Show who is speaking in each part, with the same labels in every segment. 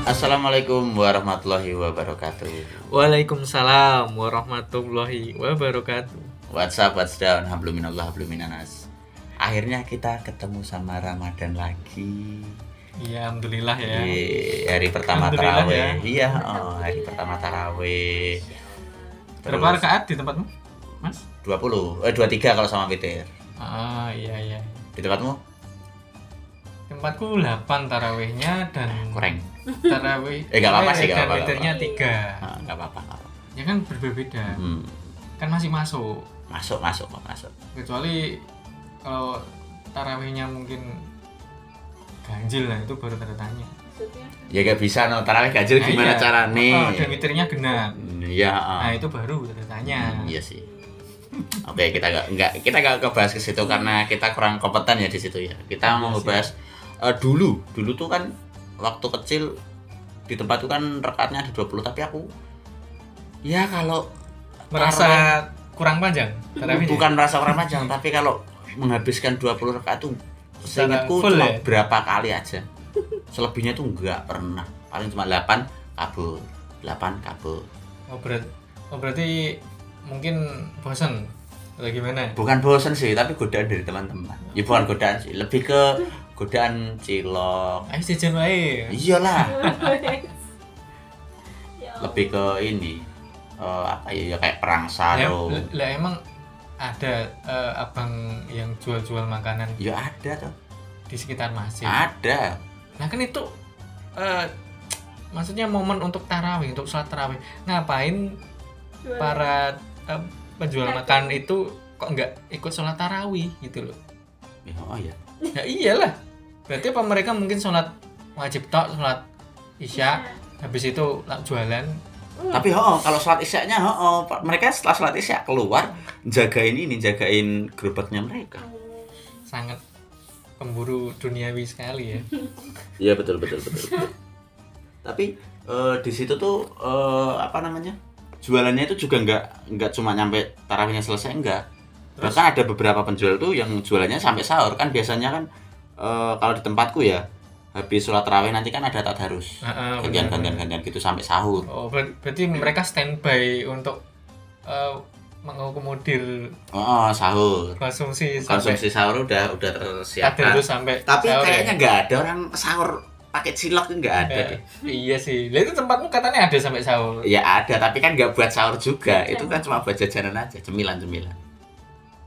Speaker 1: Assalamualaikum warahmatullahi wabarakatuh.
Speaker 2: Waalaikumsalam warahmatullahi wabarakatuh.
Speaker 1: WhatsApp, WhatsApp, habluminallah, habluminanas. Akhirnya kita ketemu sama Ramadan lagi.
Speaker 2: Iya, alhamdulillah ya.
Speaker 1: Ye, hari pertama
Speaker 2: Alhamdulillah ya.
Speaker 1: taraweh. Iya, oh, hari pertama taraweh.
Speaker 2: Berapa
Speaker 1: Terus
Speaker 2: rakaat di tempatmu, Mas?
Speaker 1: 20, eh 23 kalau sama Peter.
Speaker 2: Ah, iya iya.
Speaker 1: Di tempatmu
Speaker 2: Tempatku 8 tarawihnya dan
Speaker 1: kurang.
Speaker 2: tarawih.
Speaker 1: Eh, nggak apa-apa sih, nggak
Speaker 2: dan
Speaker 1: apa-apa,
Speaker 2: witirnya
Speaker 3: nggak
Speaker 2: tiga.
Speaker 1: Ah, Enggak apa-apa. nggak apa-apa.
Speaker 2: Ya kan berbeda-beda.
Speaker 1: Hmm,
Speaker 2: Kan masih masuk.
Speaker 1: Masuk, masuk, kok, masuk.
Speaker 2: Kecuali kalau tarawihnya mungkin ganjil lah itu baru tanda tanya.
Speaker 3: Maksudnya?
Speaker 1: Ya gak bisa no, taraweh ganjil
Speaker 2: Nah,
Speaker 1: gimana
Speaker 2: iya. Oh,
Speaker 1: caranya?
Speaker 2: dan witirnya genap.
Speaker 1: Hmm, Iya. ah.
Speaker 2: Nah, itu baru tanda tanya.
Speaker 1: Hmm, Iya sih. Oke, kita nggak nggak kita nggak ngebahas ke situ karena kita kurang kompeten ya di situ ya. Kita mau
Speaker 2: Hmm. Iya sih.
Speaker 1: ngebahas eh, dulu. Dulu tuh kan waktu kecil di tempat tuh kan rekatnya ada 20 tapi aku ya kalau
Speaker 2: Merasa kurang panjang
Speaker 1: tarawih-
Speaker 2: tarawihnya.
Speaker 1: bukan merasa kurang panjang tapi kalau menghabiskan 20 rekat tuh
Speaker 2: Secara
Speaker 1: seingatku
Speaker 2: full
Speaker 1: cuma
Speaker 2: ya?
Speaker 1: berapa kali aja. Selebihnya tuh nggak pernah. Paling cuma 8 kabur. 8 kabur.
Speaker 2: Oh, berat. oh berarti mungkin bosan atau gimana?
Speaker 1: bukan bosen sih tapi godaan dari teman-teman ya bukan godaan sih lebih ke godaan cilok
Speaker 2: Ayo jajan wae.
Speaker 1: iyalah
Speaker 3: Ya
Speaker 1: lebih ke ini eh, apa ya ya kayak perang
Speaker 2: Ya,
Speaker 1: sarung
Speaker 2: l- Lah emang ada eh, abang yang jual-jual makanan
Speaker 1: ya ada tuh
Speaker 2: di sekitar masjid.
Speaker 1: Ah. ada
Speaker 2: Nah kan itu eh, maksudnya momen untuk tarawih, untuk sholat tarawih. Ngapain
Speaker 3: Allah. Jual.
Speaker 2: para eh, penjual makanan itu kok nggak ikut sholat tarawih gitu loh?
Speaker 1: ya, oh ya
Speaker 2: Ya iyalah. Berarti apa mereka mungkin sholat wajib tok, sholat isya, habis itu la- jualan
Speaker 1: tapi oh kalau sholat isyaknya oh mereka setelah sholat isyak keluar jagain ini jagain gerobaknya mereka
Speaker 2: sangat pemburu duniawi sekali ya.
Speaker 1: iya betul betul betul, betul. tapi eh, di situ tuh eh, apa namanya jualannya itu juga nggak nggak cuma nyampe tarawihnya selesai enggak
Speaker 2: Terus?
Speaker 1: bahkan ada beberapa penjual tuh yang jualannya sampai sahur kan biasanya kan eh, kalau di tempatku ya habis sholat tarawih nanti kan ada tadarus
Speaker 2: Heeh,
Speaker 1: gantian
Speaker 2: benar,
Speaker 1: gantian
Speaker 2: benar.
Speaker 1: gantian gitu sampai sahur
Speaker 2: Oh, ber- berarti mereka standby untuk eh, mengakomodir
Speaker 1: oh, oh, sahur
Speaker 2: konsumsi sampai
Speaker 1: konsumsi sahur udah udah
Speaker 2: takdir
Speaker 1: tersiapkan
Speaker 2: itu sampai
Speaker 1: ya. Ah, tapi
Speaker 2: sahur ya?
Speaker 1: kayaknya nggak ada orang sahur pakai cilok nggak ada
Speaker 2: Ya,
Speaker 1: deh
Speaker 2: iya sih. Lah itu tempatmu katanya ada sampai sahur.
Speaker 1: Ya ada, tapi kan nggak buat sahur juga. Itu kan cuma buat jajanan aja, cemilan-cemilan.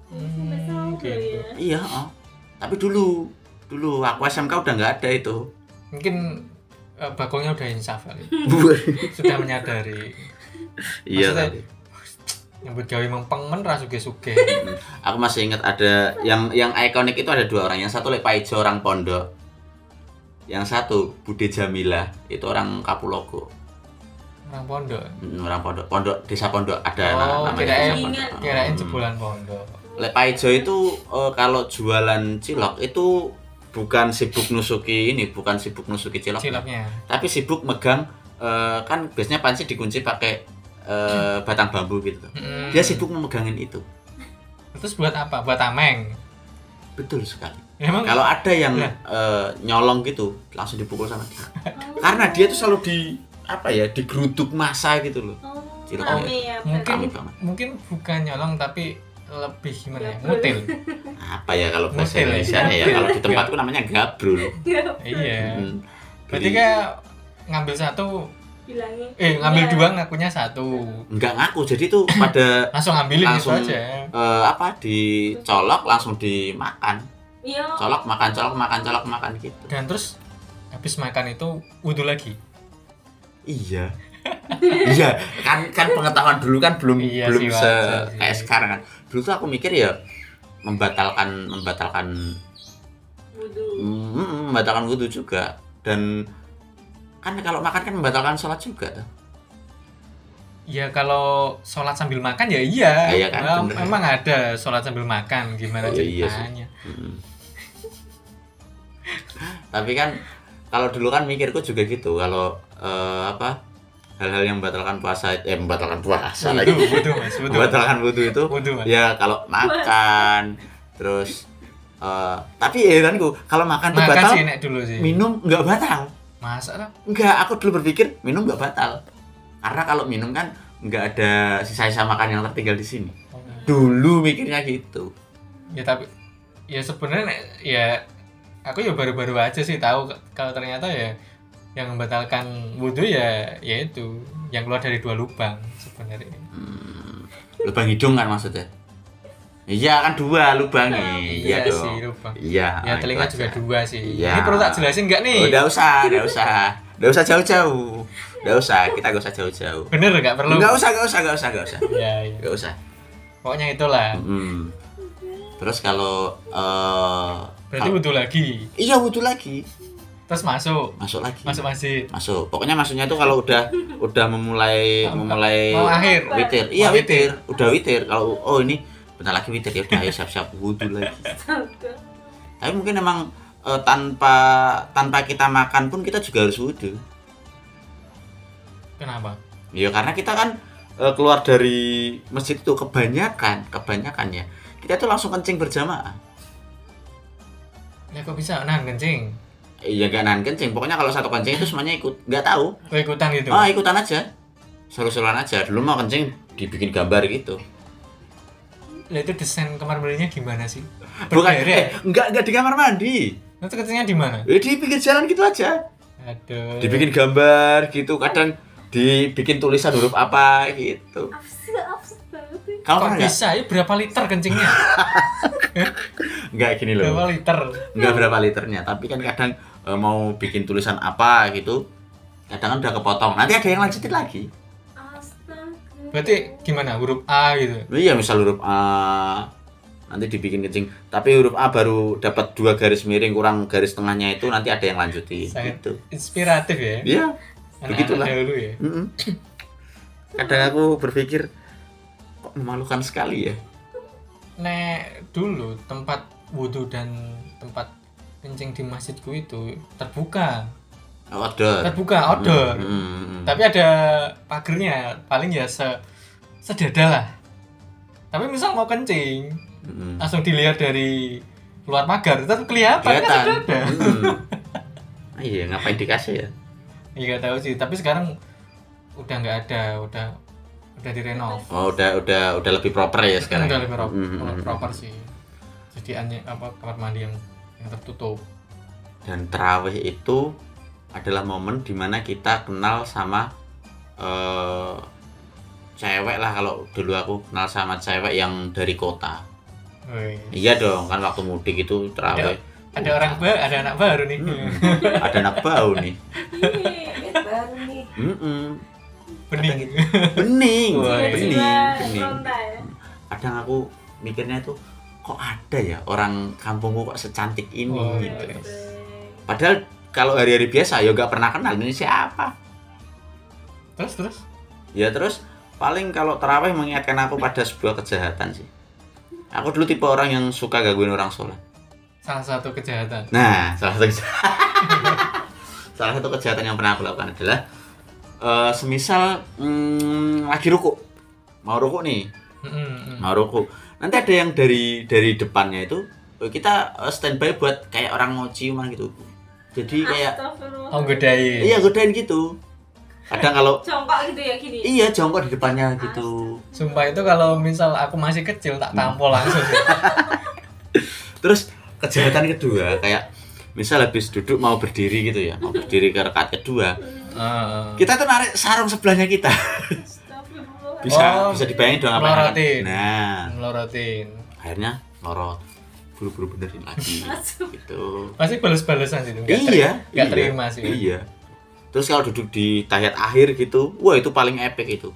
Speaker 3: Sampai sahur
Speaker 2: gitu.
Speaker 3: ya.
Speaker 1: Iya, oh. tapi dulu, dulu aku SMK udah nggak ada itu.
Speaker 2: Mungkin eh, bagongnya udah insaf kali. Sudah menyadari
Speaker 1: Iya.
Speaker 2: Maksudnya-
Speaker 1: tapi.
Speaker 2: nyambut gawe mempeng men ra suge-suge.
Speaker 1: Aku masih ingat ada yang yang ikonik itu ada dua orang. Yang satu Lek Paijo orang pondok. Yang satu Bude Jamila itu orang Kapulogo.
Speaker 2: Orang pondok.
Speaker 1: Hmm, Orang pondok, pondok desa pondok ada
Speaker 2: Oh,
Speaker 1: nama- Ya, nah, namanya
Speaker 2: kirain-
Speaker 1: desa pondok.
Speaker 2: Kirain
Speaker 1: Hmm.
Speaker 2: jebolan pondok.
Speaker 1: Lek Paijo itu eh, kalau jualan cilok itu bukan sibuk nusuki ini, bukan sibuk nusuki cilok,
Speaker 2: Ciloknya.
Speaker 1: tapi sibuk megang eh, kan biasanya panci dikunci pakai eh, batang bambu gitu.
Speaker 2: Mm.
Speaker 1: Dia sibuk memegangin itu.
Speaker 2: Terus buat apa? Buat tameng.
Speaker 1: Betul sekali.
Speaker 2: Emang
Speaker 1: Kalau ada yang
Speaker 2: Lah.
Speaker 1: eh, nyolong gitu, langsung dipukul sama dia. Karena dia tuh selalu di apa ya, digeruduk masa gitu loh.
Speaker 3: Oh,
Speaker 1: Cilok.
Speaker 3: rame ya.
Speaker 2: Mungkin.
Speaker 1: Kami banget.
Speaker 2: mungkin bukan nyolong tapi lebih gimana ya?
Speaker 3: Gabrul.
Speaker 2: Mutil.
Speaker 1: Apa ya kalau bahasa
Speaker 2: Mutil ya?
Speaker 1: Indonesia ya? Kalau di tempatku namanya gabrul.
Speaker 3: Iya.
Speaker 2: iya.
Speaker 1: Hmm.
Speaker 2: Berarti
Speaker 1: Jadi-
Speaker 2: kan ngambil satu,
Speaker 3: Bilangin.
Speaker 2: eh ngambil
Speaker 3: Iya.
Speaker 2: dua ngakunya satu.
Speaker 1: nggak ngaku jadi tuh pada
Speaker 2: Langsung ngambilin
Speaker 1: Langsung.
Speaker 2: itu aja.
Speaker 1: eh, apa dicolok langsung dimakan
Speaker 3: Iya.
Speaker 1: colok makan colok makan colok makan gitu
Speaker 2: Dan terus habis makan itu wudhu lagi.
Speaker 1: iya iya kan kan pengetahuan dulu kan belum
Speaker 2: Iya
Speaker 1: belum
Speaker 2: sih,
Speaker 1: se
Speaker 2: wajar sih.
Speaker 1: kayak sekarang kan dulu tuh aku mikir ya membatalkan membatalkan
Speaker 3: Wudu.
Speaker 1: mm, membatalkan wudhu juga dan kan kalau makan kan membatalkan sholat juga tuh
Speaker 2: Ya kalau sholat sambil makan ya iya.
Speaker 1: Ah, iya kan,
Speaker 2: Mem-
Speaker 1: bener.
Speaker 2: Memang ada sholat sambil makan gimana
Speaker 1: Oh, iya sih.
Speaker 2: ceritanya.
Speaker 1: Mm. Tapi kan kalau dulu kan mikirku juga gitu kalau eh, apa hal-hal yang membatalkan puasa eh membatalkan puasa
Speaker 2: Wudhu,
Speaker 1: lagi
Speaker 2: wudhu mas, wudhu.
Speaker 1: membatalkan wudhu itu
Speaker 2: Wudhu mas.
Speaker 1: ya kalau makan terus eh, tapi heranku kalau makan, tuh
Speaker 2: Makan
Speaker 1: batal
Speaker 2: sih enak dulu sih.
Speaker 1: minum nggak batal
Speaker 2: Masa lah?
Speaker 1: Enggak, aku dulu berpikir minum nggak batal. Karena kalau minum kan nggak ada sisa-sisa makan yang tertinggal di sini. Dulu mikirnya gitu.
Speaker 2: Ya tapi ya sebenarnya nek- ya aku ya baru-baru aja sih tahu k- kalau ternyata ya yang membatalkan wudhu ya yaitu yang keluar dari dua lubang sebenarnya.
Speaker 1: Hmm, lubang hidung kan maksudnya? Iya kan dua lubang nih. Iya
Speaker 2: sih
Speaker 1: dong.
Speaker 2: lubang.
Speaker 1: Iya.
Speaker 2: Ya
Speaker 1: itu
Speaker 2: telinga
Speaker 1: aja.
Speaker 2: juga dua sih.
Speaker 1: Iya.
Speaker 2: Ini perlu tak jelasin nggak nih?
Speaker 1: Oh, nggak usah, nggak usah. Nggak usah jauh-jauh. Nggak usah, kita nggak usah jauh-jauh.
Speaker 2: Bener nggak perlu?
Speaker 1: Nggak usah, nggak usah, nggak usah, nggak usah.
Speaker 2: Ya, ya.
Speaker 1: Nggak usah.
Speaker 2: Pokoknya itulah.
Speaker 1: Mm. Terus kalau eh
Speaker 2: Berarti
Speaker 1: kalau-
Speaker 2: wudhu lagi.
Speaker 1: iya wudhu lagi,
Speaker 2: Terus masuk.
Speaker 1: masuk lagi.
Speaker 2: Masuk masjid.
Speaker 1: masuk pokoknya maksudnya itu kalau udah udah memulai
Speaker 2: Mau-
Speaker 1: memulai
Speaker 2: Mau akhir.
Speaker 1: Eh, witir iya
Speaker 2: mau witir.
Speaker 1: witir udah witir kalau oh ini bentar lagi witir ya udah ayo siap-siap wudhu lagi
Speaker 3: Astaga.
Speaker 1: tapi mungkin emang eh, tanpa tanpa kita makan pun kita juga harus wudhu
Speaker 2: Kenapa?
Speaker 1: ya karena kita kan eh, keluar dari masjid itu kebanyakan kebanyakan ya kita tuh langsung kencing berjamaah
Speaker 2: Ya kok bisa nahan kencing?
Speaker 1: iya gak nahan kencing pokoknya kalau satu kencing itu semuanya ikut nggak tahu
Speaker 2: Lo ikutan gitu.
Speaker 1: ah ikutan aja seru-seruan aja dulu mau kencing dibikin gambar gitu
Speaker 2: Lah itu desain kamar mandinya gimana sih? ya?
Speaker 1: Bukan, eh,
Speaker 2: Berderet.
Speaker 1: enggak, enggak di kamar mandi.
Speaker 2: Nah, Itu kencingnya di mana?
Speaker 1: Eh, Di pinggir jalan gitu aja.
Speaker 2: Aduh.
Speaker 1: Dibikin gambar gitu, kadang dibikin tulisan huruf apa gitu.
Speaker 3: Absurd, absurd banget sih.
Speaker 1: Kalau
Speaker 2: Kok
Speaker 1: pernah enggak?
Speaker 2: bisa? Ya berapa liter kencingnya?
Speaker 1: Enggak gini
Speaker 2: berapa
Speaker 1: loh.
Speaker 2: liter?
Speaker 1: Enggak berapa liternya, tapi kan kadang eh, mau bikin tulisan apa gitu. Kadang kan udah kepotong. Nanti ada yang lanjutin lagi.
Speaker 3: Astaga.
Speaker 2: Berarti gimana? Huruf A gitu.
Speaker 1: Iya, misal huruf A nanti dibikin kencing, tapi huruf A baru dapat dua garis miring kurang garis tengahnya itu nanti ada yang lanjutin
Speaker 2: Sangat.
Speaker 1: gitu.
Speaker 2: Inspiratif ya.
Speaker 1: Iya.
Speaker 2: Anak-anak
Speaker 1: begitulah.
Speaker 2: dahulu ya.
Speaker 1: Mm-mm. Kadang aku berpikir kok memalukan sekali ya.
Speaker 2: Nek dulu tempat wudhu dan tempat kencing di masjidku itu terbuka.
Speaker 1: Outdoor.
Speaker 2: Terbuka outdoor.
Speaker 1: Mm-mm.
Speaker 2: tapi ada pagernya paling ya se sedada lah tapi misal mau kencing
Speaker 1: Mm-mm.
Speaker 2: langsung dilihat dari luar pagar tetap kelihatan, kan
Speaker 1: Kelihatan.
Speaker 2: sedada
Speaker 1: Mm. Ah, Iya, ngapain dikasih ya?
Speaker 2: ya nggak tahu sih tapi sekarang udah nggak ada udah udah direnov
Speaker 1: Oh, udah udah udah lebih proper ya sekarang.
Speaker 2: udah lebih pro-
Speaker 1: Mm-mm.
Speaker 2: proper sih jadi aneh apa kamar mandi yang yang tertutup
Speaker 1: Dan terawih itu adalah momen dimana kita kenal sama eh, cewek lah kalau dulu aku kenal sama cewek yang dari kota.
Speaker 2: Woi.
Speaker 1: Iya dong, kan waktu mudik itu terawih.
Speaker 2: ada orang baru ada anak baru nih
Speaker 1: Mm-mm. Ada anak bau nih.
Speaker 3: Iya, Ih,
Speaker 4: baru nih
Speaker 1: Mm-mm.
Speaker 2: bening
Speaker 1: bening
Speaker 2: Wah,
Speaker 1: bening
Speaker 3: jiwa-jiwa
Speaker 1: bening
Speaker 3: frontal ya.
Speaker 1: kadang aku mikirnya itu kok ada ya orang kampungku kok secantik ini
Speaker 3: Oh,
Speaker 2: Wah.
Speaker 1: gitu
Speaker 3: Astaga.
Speaker 1: padahal kalau hari-hari biasa ya gak pernah kenal ini siapa
Speaker 2: terus terus
Speaker 1: ya terus paling kalau terawih mengingatkan aku pada sebuah kejahatan sih aku dulu tipe orang yang suka gangguin orang sholat
Speaker 2: salah satu kejahatan
Speaker 1: nah salah satu kejahatan salah satu kejahatan yang pernah aku lakukan adalah eh, semisal mm, lagi ruku mau ruku nih
Speaker 2: Mm-mm.
Speaker 1: mau ruku nanti ada yang dari dari depannya itu eh, kita eh, standby buat kayak orang mau ciuman gitu jadi kayak
Speaker 3: Astagfirullah.
Speaker 2: oh godain
Speaker 1: iya godain gitu kadang kalau
Speaker 3: Congkok gitu ya gini.
Speaker 1: iya jongkok di depannya gitu
Speaker 2: Sumpah itu kalau misal aku masih kecil
Speaker 1: Mm.
Speaker 2: tak tampol langsung sih.
Speaker 1: terus kejahatan kedua kayak misal habis duduk mau berdiri gitu ya mau berdiri ke rekat kedua
Speaker 2: Heeh.
Speaker 1: kita tuh narik sarung sebelahnya kita
Speaker 3: Astagfirullah.
Speaker 1: bisa
Speaker 2: Oh,
Speaker 1: bisa dibayangin dong apa yang akan-
Speaker 2: melorotin.
Speaker 1: nah
Speaker 2: Melorotin.
Speaker 1: akhirnya lorot buru-buru benerin lagi gitu
Speaker 2: Pasti balas-balasan gitu. Nggak ter-
Speaker 1: iya,
Speaker 2: nggak
Speaker 1: iya,
Speaker 2: terima sih.
Speaker 1: Iya. Terus kalau duduk di tahiyat akhir gitu, wah itu paling epic itu.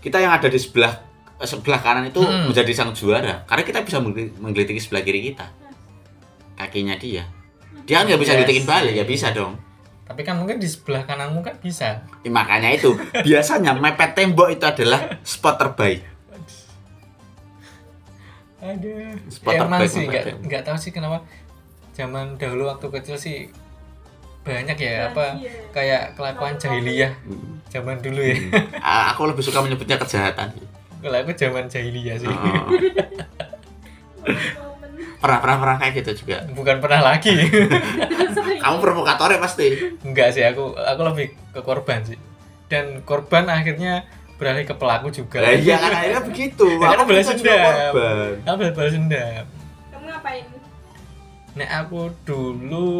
Speaker 1: Kita yang ada di sebelah eh, sebelah kanan itu
Speaker 2: Hmm.
Speaker 1: menjadi sang juara karena kita bisa menggeli- menggelitiki sebelah kiri kita. Kakinya dia. Dia kan nggak bisa
Speaker 2: Yes.
Speaker 1: gelitikin balik, ya bisa dong.
Speaker 2: Tapi kan mungkin di sebelah kananmu kan bisa.
Speaker 1: Ya, makanya itu biasanya mepet tembok itu adalah spot terbaik.
Speaker 2: Aduh.
Speaker 1: Spot
Speaker 2: Emang
Speaker 1: terbaik
Speaker 2: sih
Speaker 1: memang.
Speaker 2: nggak nggak tahu sih kenapa zaman dahulu waktu kecil sih banyak ya apa
Speaker 3: Iya.
Speaker 2: kayak kelakuan jahiliyah
Speaker 1: Mm.
Speaker 2: zaman dulu ya.
Speaker 1: Ah, Aku lebih suka menyebutnya kejahatan.
Speaker 2: Kalau aku zaman jahiliyah sih.
Speaker 1: Oh.
Speaker 3: Momen. Oh,
Speaker 1: Pernah pernah pernah kayak gitu juga.
Speaker 2: Bukan pernah lagi.
Speaker 3: Sering.
Speaker 1: Kamu provokatornya pasti.
Speaker 2: enggak sih aku aku lebih ke korban sih dan korban akhirnya beralih ke pelaku juga
Speaker 1: Lah iya kan akhirnya begitu.
Speaker 2: Ya, kan
Speaker 1: Aku
Speaker 2: balas
Speaker 1: bisa juga
Speaker 2: dendam.
Speaker 1: korban.
Speaker 2: Aku balas dendam
Speaker 3: Kamu ngapain?
Speaker 2: Nek aku dulu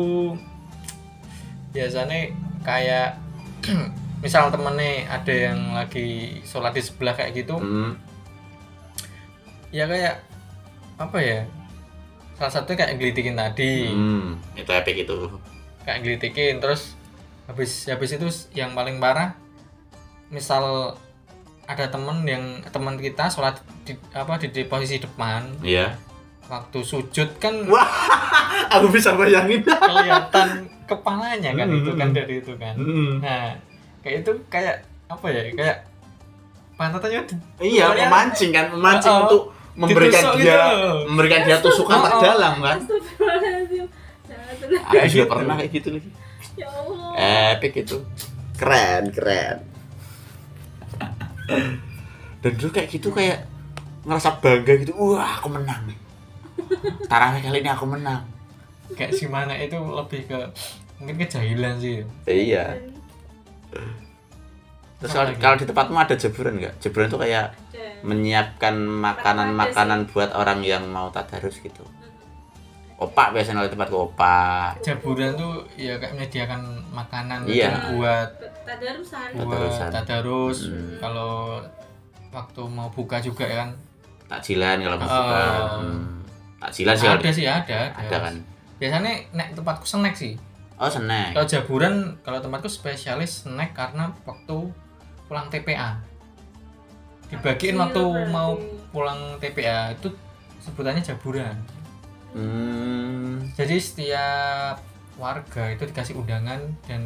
Speaker 2: biasanya kayak misal temennya ada yang lagi sholat di sebelah kayak gitu
Speaker 1: Hmm.
Speaker 2: ya kayak apa ya salah satunya kayak ngelitikin tadi
Speaker 1: hmm. Itu epic itu.
Speaker 2: kayak ngelitikin terus habis habis itu yang paling parah misal ada temen yang teman kita sholat di apa di, di posisi depan
Speaker 1: Iya.
Speaker 2: waktu sujud kan
Speaker 1: Wah, aku bisa bayangin.
Speaker 2: kelihatan kepalanya kan itu kan
Speaker 1: Hmm.
Speaker 2: dari itu kan
Speaker 1: Hmm.
Speaker 2: nah kayak itu kayak apa ya kayak pantatnya di-
Speaker 1: Iya,
Speaker 2: Soalnya-
Speaker 1: memancing kan, memancing
Speaker 2: Oh, oh.
Speaker 1: untuk memberikan
Speaker 2: ditusuk
Speaker 1: dia
Speaker 2: gitu loh.
Speaker 1: memberikan dia tusukan
Speaker 2: Oh, oh.
Speaker 1: terdalam kan.
Speaker 3: Astagfirullahaladzim. Jangan tenang.
Speaker 1: Aku
Speaker 2: Kayak
Speaker 1: juga
Speaker 2: gitu.
Speaker 1: pernah kayak gitu lagi.
Speaker 3: Ya Allah.
Speaker 1: Epic itu. Keren, keren. Dan dulu kayak gitu kayak ngerasa bangga gitu. Wah, aku menang nih. Tarawih kali ini aku menang.
Speaker 2: kayak si mana itu lebih ke mungkin kejahilan sih
Speaker 1: Iya. Terus kalau,
Speaker 2: Apalagi?
Speaker 1: kalau di tempatmu ada jeburan nggak? Jeburan tuh kayak
Speaker 3: Dan-
Speaker 1: menyiapkan makanan-makanan buat orang yang mau tadarus gitu. Opak biasanya kalau di tempatku opak.
Speaker 2: jaburan tuh ya kayak menyediakan makanan
Speaker 1: Iya.
Speaker 2: gitu buat
Speaker 3: Tadarusan.
Speaker 2: buat
Speaker 1: Tadarusan.
Speaker 2: tadarus
Speaker 1: Hmm.
Speaker 2: kalau waktu mau buka juga kan
Speaker 1: Takjilan kalau mau
Speaker 2: Oh.
Speaker 1: buka. Hmm. Takjilan sih kalau
Speaker 2: ada sih ada ada,
Speaker 1: ada kan.
Speaker 2: biasanya nek tempatku snack sih
Speaker 1: Oh, snack.
Speaker 2: kalau jaburan kalau tempatku spesialis snack karena waktu pulang TPA dibagiin
Speaker 3: Kecil
Speaker 2: waktu
Speaker 3: berarti.
Speaker 2: mau pulang TPA itu sebutannya jaburan
Speaker 1: Hmm.
Speaker 2: jadi setiap warga itu dikasih undangan dan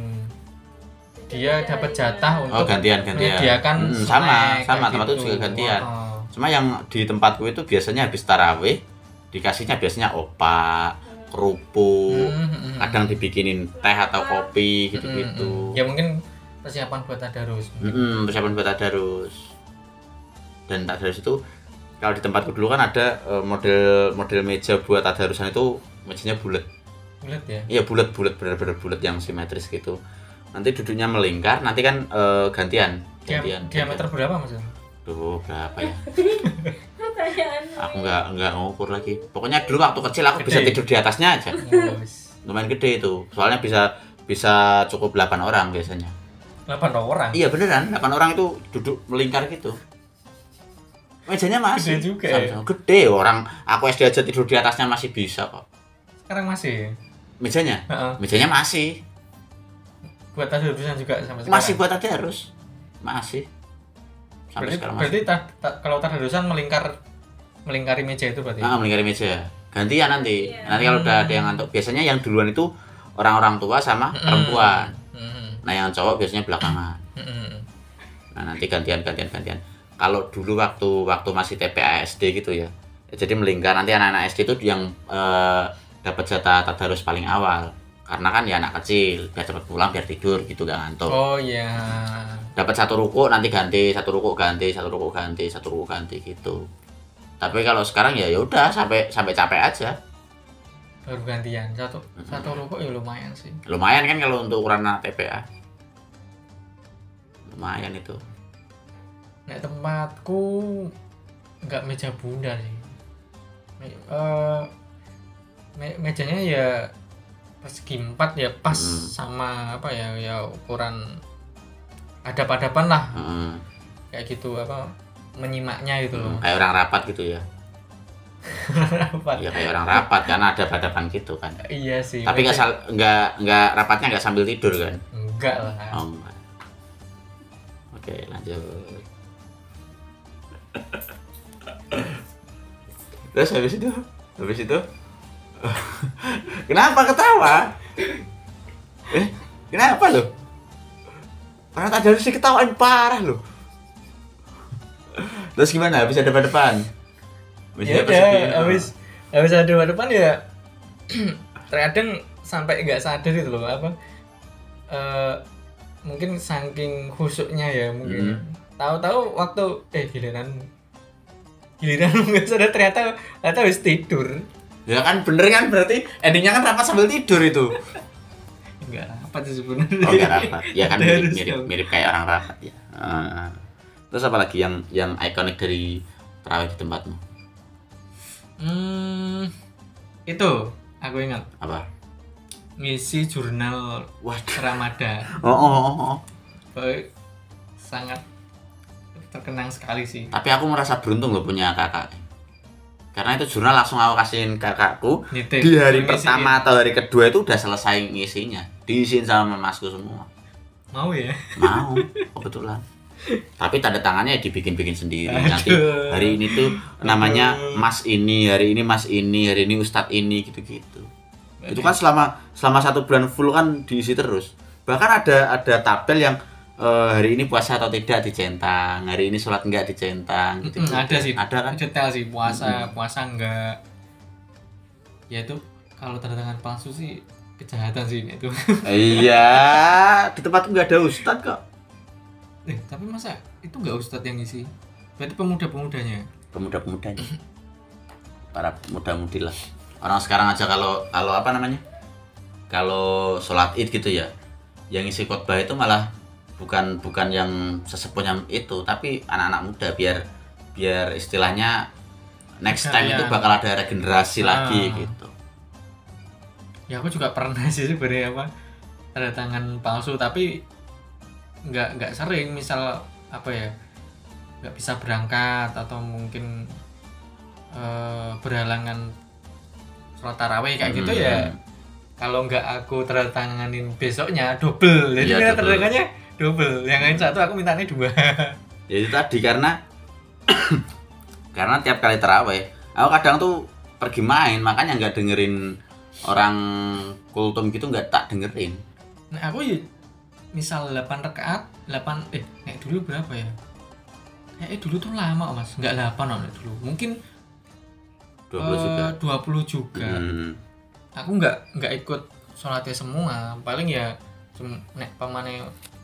Speaker 2: dia
Speaker 3: Iya,
Speaker 2: dapat jatah
Speaker 1: Oh,
Speaker 2: untuk
Speaker 1: gantian gantian.
Speaker 2: menyediakan
Speaker 1: Hmm, sama,
Speaker 2: snack,
Speaker 1: sama
Speaker 2: kayak
Speaker 1: tempatku
Speaker 2: gitu.
Speaker 1: juga gantian.
Speaker 2: Oh.
Speaker 1: Cuma yang di tempatku itu biasanya habis tarawih dikasihnya biasanya opak, kerupuk,
Speaker 2: Hmm, hmm, hmm.
Speaker 1: kadang dibikinin teh atau kopi
Speaker 2: Hmm, hmm,
Speaker 1: gitu-gitu.
Speaker 2: hmm. ya mungkin persiapan buat tadarus
Speaker 1: Mm-mm, persiapan buat tadarus. Dan tadarus itu kalau di tempatku dulu kan ada eh, model model meja buat tadarusan itu mejanya bulat.
Speaker 2: Bulat ya
Speaker 1: Iya bulat bulat benar-benar bulat yang simetris gitu. Nanti duduknya melingkar, nanti kan eh, gantian,
Speaker 2: Dia-
Speaker 1: gantian.
Speaker 2: diameter
Speaker 1: gantian.
Speaker 2: berapa maksudnya
Speaker 1: Duh, berapa ya?
Speaker 3: Pertanyaan.
Speaker 1: Aku nggak nggak ngukur lagi. Pokoknya dulu waktu kecil aku bisa
Speaker 2: Gede.
Speaker 1: tidur di atasnya aja.
Speaker 2: Ya, wis.
Speaker 1: Lumayan gede itu. Soalnya bisa bisa cukup 8 orang biasanya.
Speaker 2: delapan orang
Speaker 1: Iya beneran, 8 orang itu duduk melingkar gitu. Mejanya masih
Speaker 2: Gede juga ya?
Speaker 1: Sama-sama. Gede orang aku SD aja tidur di atasnya masih bisa kok.
Speaker 2: sekarang masih
Speaker 1: Mejanya?
Speaker 2: Heeh.
Speaker 1: Mejanya masih.
Speaker 2: buat tadarusan juga sampai sekarang
Speaker 1: Masih buat tadi harus. Masih. Sampai
Speaker 2: berarti,
Speaker 1: sekarang masih.
Speaker 2: berarti ta- ta- kalau tadarusan melingkar melingkari meja itu berarti
Speaker 1: Ah, melingkari meja. Gantian nanti.
Speaker 3: Iya.
Speaker 1: Nanti kalau udah ada yang ngantuk, biasanya yang duluan itu orang-orang tua sama perempuan.
Speaker 2: Mm-mm.
Speaker 1: Nah, yang cowok biasanya belakangan.
Speaker 2: Mm-mm.
Speaker 1: Nah nanti gantian gantian gantian. Kalau dulu waktu waktu masih TPA SD gitu ya. Jadi melingkar nanti anak-anak SD itu yang eh, dapat jatah tadarus paling awal. Karena kan ya anak kecil biar cepat pulang biar tidur gitu gak ngantuk.
Speaker 2: oh ya
Speaker 1: Dapat satu ruko nanti ganti satu ruko ganti satu ruko ganti satu ruko ganti gitu. Tapi kalau sekarang ya ya udah sampai sampai capek aja.
Speaker 2: baru gantian satu
Speaker 1: Mm-mm.
Speaker 2: satu rokok ya lumayan sih
Speaker 1: Lumayan kan kalau untuk ukuran anak TPA. Lumayan itu.
Speaker 2: Nek tempatku nggak meja bundar sih. Me- eh, me- mejanya ya persegi empat ya pas
Speaker 1: Hmm.
Speaker 2: sama apa ya ya ukuran hadap-hadapan lah
Speaker 1: Heeh.
Speaker 2: kayak gitu apa menyimaknya gitu loh.
Speaker 1: Kayak orang rapat gitu ya.
Speaker 2: Rapat.
Speaker 1: Ya kayak orang rapat karena ada hadapan gitu kan.
Speaker 2: Iya sih.
Speaker 1: Tapi nggak
Speaker 2: meja-
Speaker 1: sal- nggak nggak rapatnya nggak sambil tidur kan?
Speaker 2: Enggak lah.
Speaker 1: Oh, nggak. Oke lanjut. Terus habis itu, habis itu, kenapa ketawa? Eh, kenapa lo? Karena tadi harus diketawain parah lo. Terus gimana? Habis ada depan?
Speaker 2: Ya udah habis habis ada depan ya terkadang sampai nggak sadar gitu loh apa eh, mungkin saking khusuknya ya mungkin
Speaker 1: Hmm.
Speaker 2: tahu-tahu waktu eh giliran giliran mungkin sadar ternyata ternyata habis tidur
Speaker 1: Ya kan bener kan berarti endingnya kan rapat sambil tidur itu.
Speaker 2: nggak rapat sih sebenarnya
Speaker 1: Oh nggak rapat, ya kan mirip
Speaker 2: Harus
Speaker 1: mirip,
Speaker 2: dong.
Speaker 1: mirip kayak orang rapat ya. Ah. terus apa lagi yang yang ikonik dari terawih di tempatmu?
Speaker 2: hmm, itu aku ingat
Speaker 1: Apa?
Speaker 2: ngisi jurnal
Speaker 1: Waduh.
Speaker 2: Ramadan
Speaker 1: Oh, oh, oh, oh.
Speaker 2: Boy, sangat terkenang sekali sih
Speaker 1: Tapi aku merasa beruntung loh punya kakak. Karena itu jurnal langsung aku kasihin kakakku.
Speaker 2: Nitip,
Speaker 1: Di hari
Speaker 2: ngisi-
Speaker 1: pertama atau hari kedua itu udah selesai ngisinya. Diisiin sama masku semua.
Speaker 2: mau ya
Speaker 1: Mau, kebetulan. Tapi tanda tangannya dibikin-bikin sendiri. Nanti
Speaker 2: Aduh.
Speaker 1: hari ini tuh namanya
Speaker 2: Aduh.
Speaker 1: Mas ini, hari ini Mas ini, hari ini Ustadz ini gitu-gitu. Itu kan selama selama satu bulan full kan diisi terus. Bahkan ada ada tabel yang eh, hari ini puasa atau tidak dicentang, hari ini sholat enggak dicentang.
Speaker 2: Mm-mm, Hmm, ada sih
Speaker 1: Ada kan? Hmm.
Speaker 2: detail sih puasa puasa enggak ya itu kalau tanda tangan palsu sih kejahatan sih ini itu
Speaker 1: iya, di tempatku nggak ada ustadz kok.
Speaker 2: eh, tapi masa itu enggak ustadz yang ngisi berarti pemuda pemudanya
Speaker 1: Pemuda-pemudanya, para muda-mudi lah. Orang sekarang aja kalau kalau apa namanya? Kalau sholat id gitu ya, yang isi khotbah itu malah bukan bukan yang sesepuh yang itu, tapi anak-anak muda biar biar istilahnya next time
Speaker 2: Iya.
Speaker 1: itu bakal ada regenerasi
Speaker 2: Ah.
Speaker 1: lagi gitu.
Speaker 2: ya aku juga pernah sih sebenarnya apa tanda tangan palsu tapi nggak nggak sering misal apa ya nggak bisa berangkat atau mungkin eh, berhalangan sholat tarawih kayak gitu
Speaker 1: Hmm.
Speaker 2: ya kalau nggak aku tanda tanganin besoknya double jadi
Speaker 1: Iya,
Speaker 2: ya,
Speaker 1: double.
Speaker 2: tanda tangannya double yang lain satu aku mintanya dua
Speaker 1: Ya itu tadi karena karena tiap kali terawih, aku kadang tuh pergi main, makanya nggak dengerin orang kultum gitu nggak tak dengerin.
Speaker 2: nah aku ya, misal 8 rakaat 8 eh kayak dulu berapa ya kayak dulu tuh lama mas nggak 8 om nek dulu mungkin
Speaker 1: 20 juga.
Speaker 2: Eh, 20 juga.
Speaker 1: Hmm.
Speaker 2: Aku nggak nggak ikut sholatnya semua. Paling ya cuma nek pamane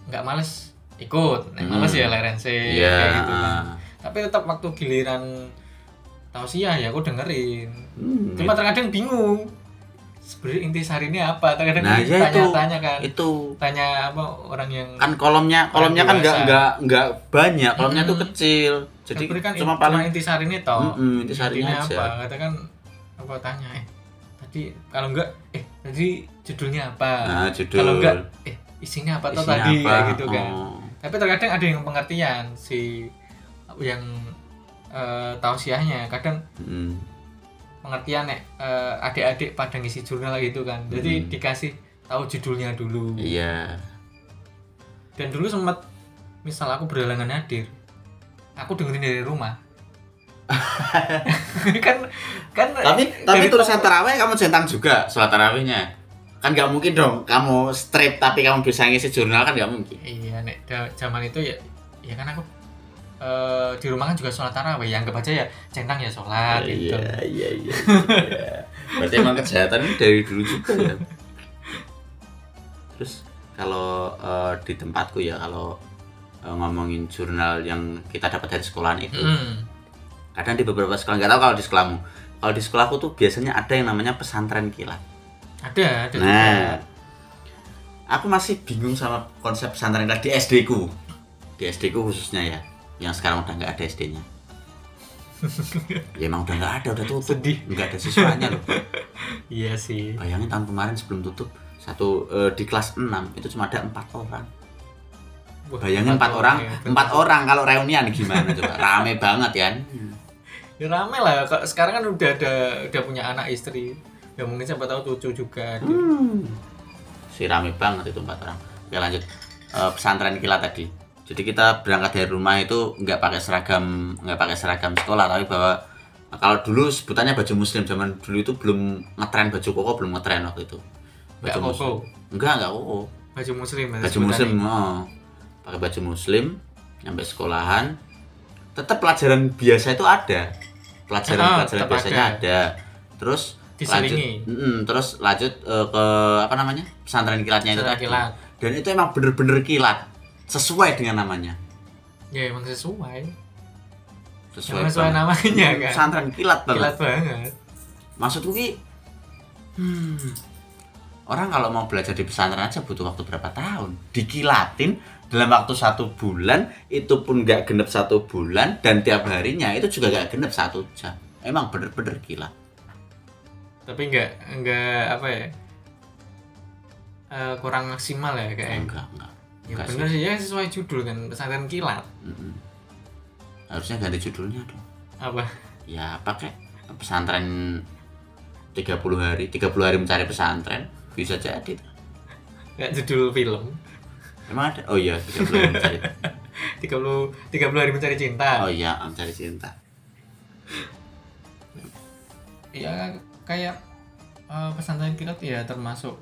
Speaker 2: nggak males ikut. Nek males
Speaker 1: Hmm.
Speaker 2: ya leren sih
Speaker 1: Iya.
Speaker 2: kayak gitu kan. Tapi tetap waktu giliran tausiah ya aku dengerin.
Speaker 1: Hmm,
Speaker 2: Cuma terkadang bingung. Sebenarnya intisari ini apa? Terkadang
Speaker 1: Nah, ya itu.
Speaker 2: tanya-tanya kan.
Speaker 1: itu
Speaker 2: Tanya apa orang yang
Speaker 1: kan kolomnya kolomnya kan nggak
Speaker 2: dewasa.
Speaker 1: nggak nggak banyak, kolomnya tuh
Speaker 2: Mm-mm.
Speaker 1: kecil. Jadi
Speaker 2: Sebenarnya Hmm. kan
Speaker 1: cuma
Speaker 2: in-
Speaker 1: paling
Speaker 2: intisari ini toh.
Speaker 1: Mm-mm, itu seharinya
Speaker 2: Intinya
Speaker 1: aja.
Speaker 2: apa katakan apa tanya eh tadi kalau enggak eh tadi judulnya apa
Speaker 1: Nah, judul.
Speaker 2: kalau enggak eh isinya apa tuh
Speaker 1: isinya
Speaker 2: tadi
Speaker 1: apa?
Speaker 2: kayak gitu kan
Speaker 1: Oh.
Speaker 2: tapi terkadang ada yang pengertian si yang eh, tausiahnya kadang
Speaker 1: Hmm.
Speaker 2: pengertian nek eh, adik-adik pada ngisi jurnal gitu kan jadi
Speaker 1: Hmm.
Speaker 2: dikasih tahu judulnya dulu
Speaker 1: Iya.
Speaker 2: dan dulu sempat misal aku berhalangan hadir aku dengerin dari rumah kan kan
Speaker 1: Tapi tapi
Speaker 2: dari
Speaker 1: tulisan
Speaker 2: tau-
Speaker 1: taraweh kamu centang juga sholat tarawehnya. Kan nggak mungkin dong kamu strip tapi kamu bisa ngisi jurnal kan nggak mungkin.
Speaker 2: Iya, nek da- zaman itu ya, ya kan aku eh, di rumah kan juga sholat tarawih, yang anggap aja ya centang ya sholat gitu.
Speaker 1: Iya, iya, iya. iya. Berarti emang kejahatan ini dari dulu juga ya. Terus kalau eh, di tempatku ya kalau eh, ngomongin jurnal yang kita dapat dari sekolahan itu,
Speaker 2: Mm.
Speaker 1: kadang di beberapa sekolah nggak tahu kalau di sekolahmu. Kalau di sekolahku tuh biasanya ada yang namanya pesantren kilat.
Speaker 2: Ada, ada
Speaker 1: Nah, aku masih bingung sama konsep pesantren kilat di SD ku, di SD ku khususnya ya, yang sekarang udah nggak ada SD-nya. ya emang udah nggak ada, udah tutup.
Speaker 2: Sedih.
Speaker 1: Nggak ada siswanya loh.
Speaker 2: juga. Iya sih.
Speaker 1: Bayangin tahun kemarin sebelum tutup satu eh, di kelas 6 itu cuma ada empat orang.
Speaker 2: Wah,
Speaker 1: Bayangin empat orang, iya,
Speaker 2: ya, betul.
Speaker 1: empat orang kalau reunian gimana coba? Rame banget kan?
Speaker 2: Ya rame lah, kalau sekarang kan udah ada, udah punya anak istri. Ya mungkin siapa tahu cucu juga. ada.
Speaker 1: Hmm. Si rame banget itu empat orang. Oke lanjut Eh, pesantren kilat tadi. Jadi kita berangkat dari rumah itu nggak pakai seragam, nggak pakai seragam sekolah tapi bahwa kalau dulu sebutannya baju muslim zaman dulu itu belum ngetren baju koko belum ngetren waktu itu.
Speaker 2: Nggak
Speaker 1: Baju muslim.
Speaker 2: koko,
Speaker 1: Enggak, enggak koko.
Speaker 2: baju muslim. ada
Speaker 1: baju
Speaker 2: sebutannya.
Speaker 1: muslim oh. pakai baju muslim nyampe sekolahan tetap pelajaran biasa itu ada pelajaran
Speaker 2: Ah,
Speaker 1: pelajaran
Speaker 2: tetap
Speaker 1: biasanya
Speaker 2: ada.
Speaker 1: ada terus lanjut
Speaker 2: Diselingi.
Speaker 1: Mm, terus lanjut eh, ke apa namanya pesantren kilatnya
Speaker 2: Pesantren
Speaker 1: itu tadi.
Speaker 2: kilat.
Speaker 1: dan itu emang bener-bener kilat sesuai dengan namanya
Speaker 2: Ya emang sesuai.
Speaker 1: sesuai,
Speaker 2: Emang sesuai
Speaker 1: banget.
Speaker 2: namanya
Speaker 1: Mm,
Speaker 2: kan.
Speaker 1: pesantren kilat banget
Speaker 2: Kilat banget.
Speaker 1: maksudku ki hmm, Orang kalau mau belajar di pesantren aja butuh waktu berapa tahun? Dikilatin dalam waktu satu bulan, itu pun nggak genep satu bulan, dan tiap harinya itu juga nggak genep satu jam. Emang bener-bener gila.
Speaker 2: tapi nggak nggak apa ya eh, kurang maksimal ya kayak
Speaker 1: Enggak, enggak.
Speaker 2: ya
Speaker 1: enggak
Speaker 2: bener sih ya sesuai judul kan pesantren kilat
Speaker 1: Mm-mm. Harusnya ganti judulnya dong.
Speaker 2: apa
Speaker 1: Ya pakai pesantren 30 hari, 30 hari mencari pesantren bisa jadi.
Speaker 2: nggak judul film
Speaker 1: Emang ada? Oh iya, 30 hari mencari.
Speaker 2: 30 30 hari mencari cinta
Speaker 1: Oh iya, mencari cinta. iya.
Speaker 2: ya kayak eh, pesantren kilat ya termasuk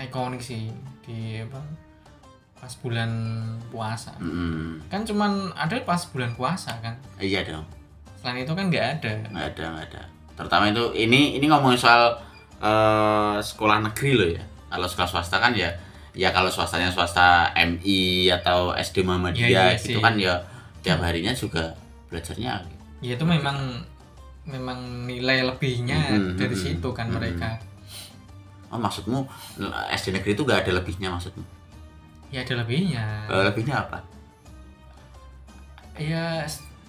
Speaker 2: ikonik sih di apa pas bulan puasa
Speaker 1: Mm-mm.
Speaker 2: kan cuman ada pas bulan puasa kan
Speaker 1: Hmm, Iya dong.
Speaker 2: selain itu kan nggak ada
Speaker 1: nggak ada nggak ada terutama itu ini ini ngomongin soal eh, sekolah negeri loh ya kalau sekolah swasta kan ya ya kalau swastanya swasta MI atau SD Muhammadiyah
Speaker 2: Ya, iya
Speaker 1: gitu
Speaker 2: sih.
Speaker 1: kan ya tiap harinya juga belajarnya
Speaker 2: ya itu memang memang nilai lebihnya
Speaker 1: Mhm,
Speaker 2: dari
Speaker 1: mhm,
Speaker 2: situ kan
Speaker 1: mhm.
Speaker 2: mereka
Speaker 1: oh maksudmu SD negeri itu nggak ada lebihnya maksudmu
Speaker 2: ya ada lebihnya
Speaker 1: Eh, lebihnya apa
Speaker 2: ya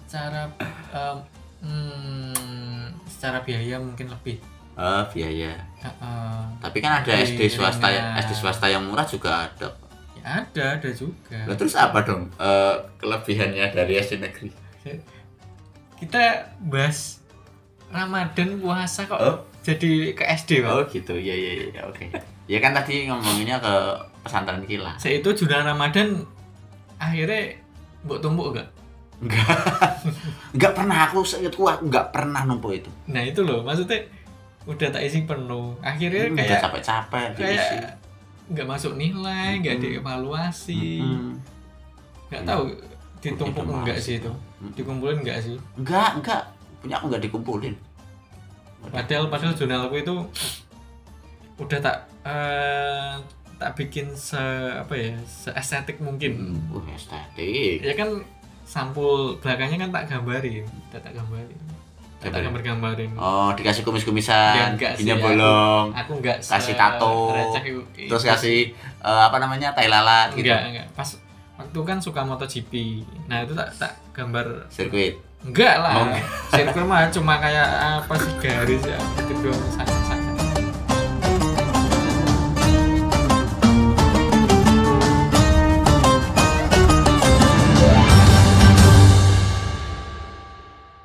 Speaker 2: secara em, hmm, secara biaya mungkin lebih
Speaker 1: Eh, biaya
Speaker 2: Eh, eh,
Speaker 1: tapi kan ada SD
Speaker 2: Lebih
Speaker 1: swasta
Speaker 2: ringan.
Speaker 1: SD swasta yang murah juga ada
Speaker 2: ya ada ada juga
Speaker 1: Lah, terus apa dong eh, kelebihannya dari SD negeri
Speaker 2: kita bahas Ramadan puasa kok
Speaker 1: Oh.
Speaker 2: jadi ke SD kok
Speaker 1: oh gitu ya ya ya oke ya kan tadi ngomonginnya ke pesantren kilat
Speaker 2: saya itu jualan Ramadan akhirnya buat tumbuk gak
Speaker 1: Enggak. Enggak pernah aku seingatku aku enggak pernah numpuk itu.
Speaker 2: nah itu loh maksudnya udah tak isi penuh akhirnya
Speaker 1: Hmm, Udah
Speaker 2: Iya, kayak
Speaker 1: capek-capek gitu diisi.
Speaker 2: kayak nggak masuk nilai nggak
Speaker 1: Mm-mm.
Speaker 2: dievaluasi
Speaker 1: Mm-mm.
Speaker 2: nggak
Speaker 1: Iya.
Speaker 2: tahu ditumpuk
Speaker 1: Dievaluasi.
Speaker 2: nggak sih itu
Speaker 1: Hmm.
Speaker 2: dikumpulin nggak sih
Speaker 1: Enggak, enggak. Punya aku enggak dikumpulin.
Speaker 2: padahal padahal jurnalku itu udah tak eh, tak bikin se apa ya se estetik mungkin
Speaker 1: Uh, estetik.
Speaker 2: ya kan sampul belakangnya kan tak gambarin tak tak gambarin tak, tak
Speaker 1: Gambarin.
Speaker 2: gambar gambarin
Speaker 1: Oh, dikasih
Speaker 2: Ya,
Speaker 1: kumis-kumisan,
Speaker 2: enggak sih,
Speaker 1: gini
Speaker 2: aku- Iya.
Speaker 1: bolong.
Speaker 2: aku nggak se-
Speaker 1: Kasih tato.
Speaker 2: receh itu.
Speaker 1: Terus kasih eh, apa namanya? Tai lalat gitu.
Speaker 2: enggak enggak pas waktu kan suka MotoGP nah itu tak tak gambar
Speaker 1: Sirkuit.
Speaker 2: Enggak
Speaker 1: Oh,
Speaker 2: lah.
Speaker 1: enggak.
Speaker 2: Sirkuit mah cuma kayak apa sih garis ya gitu doang.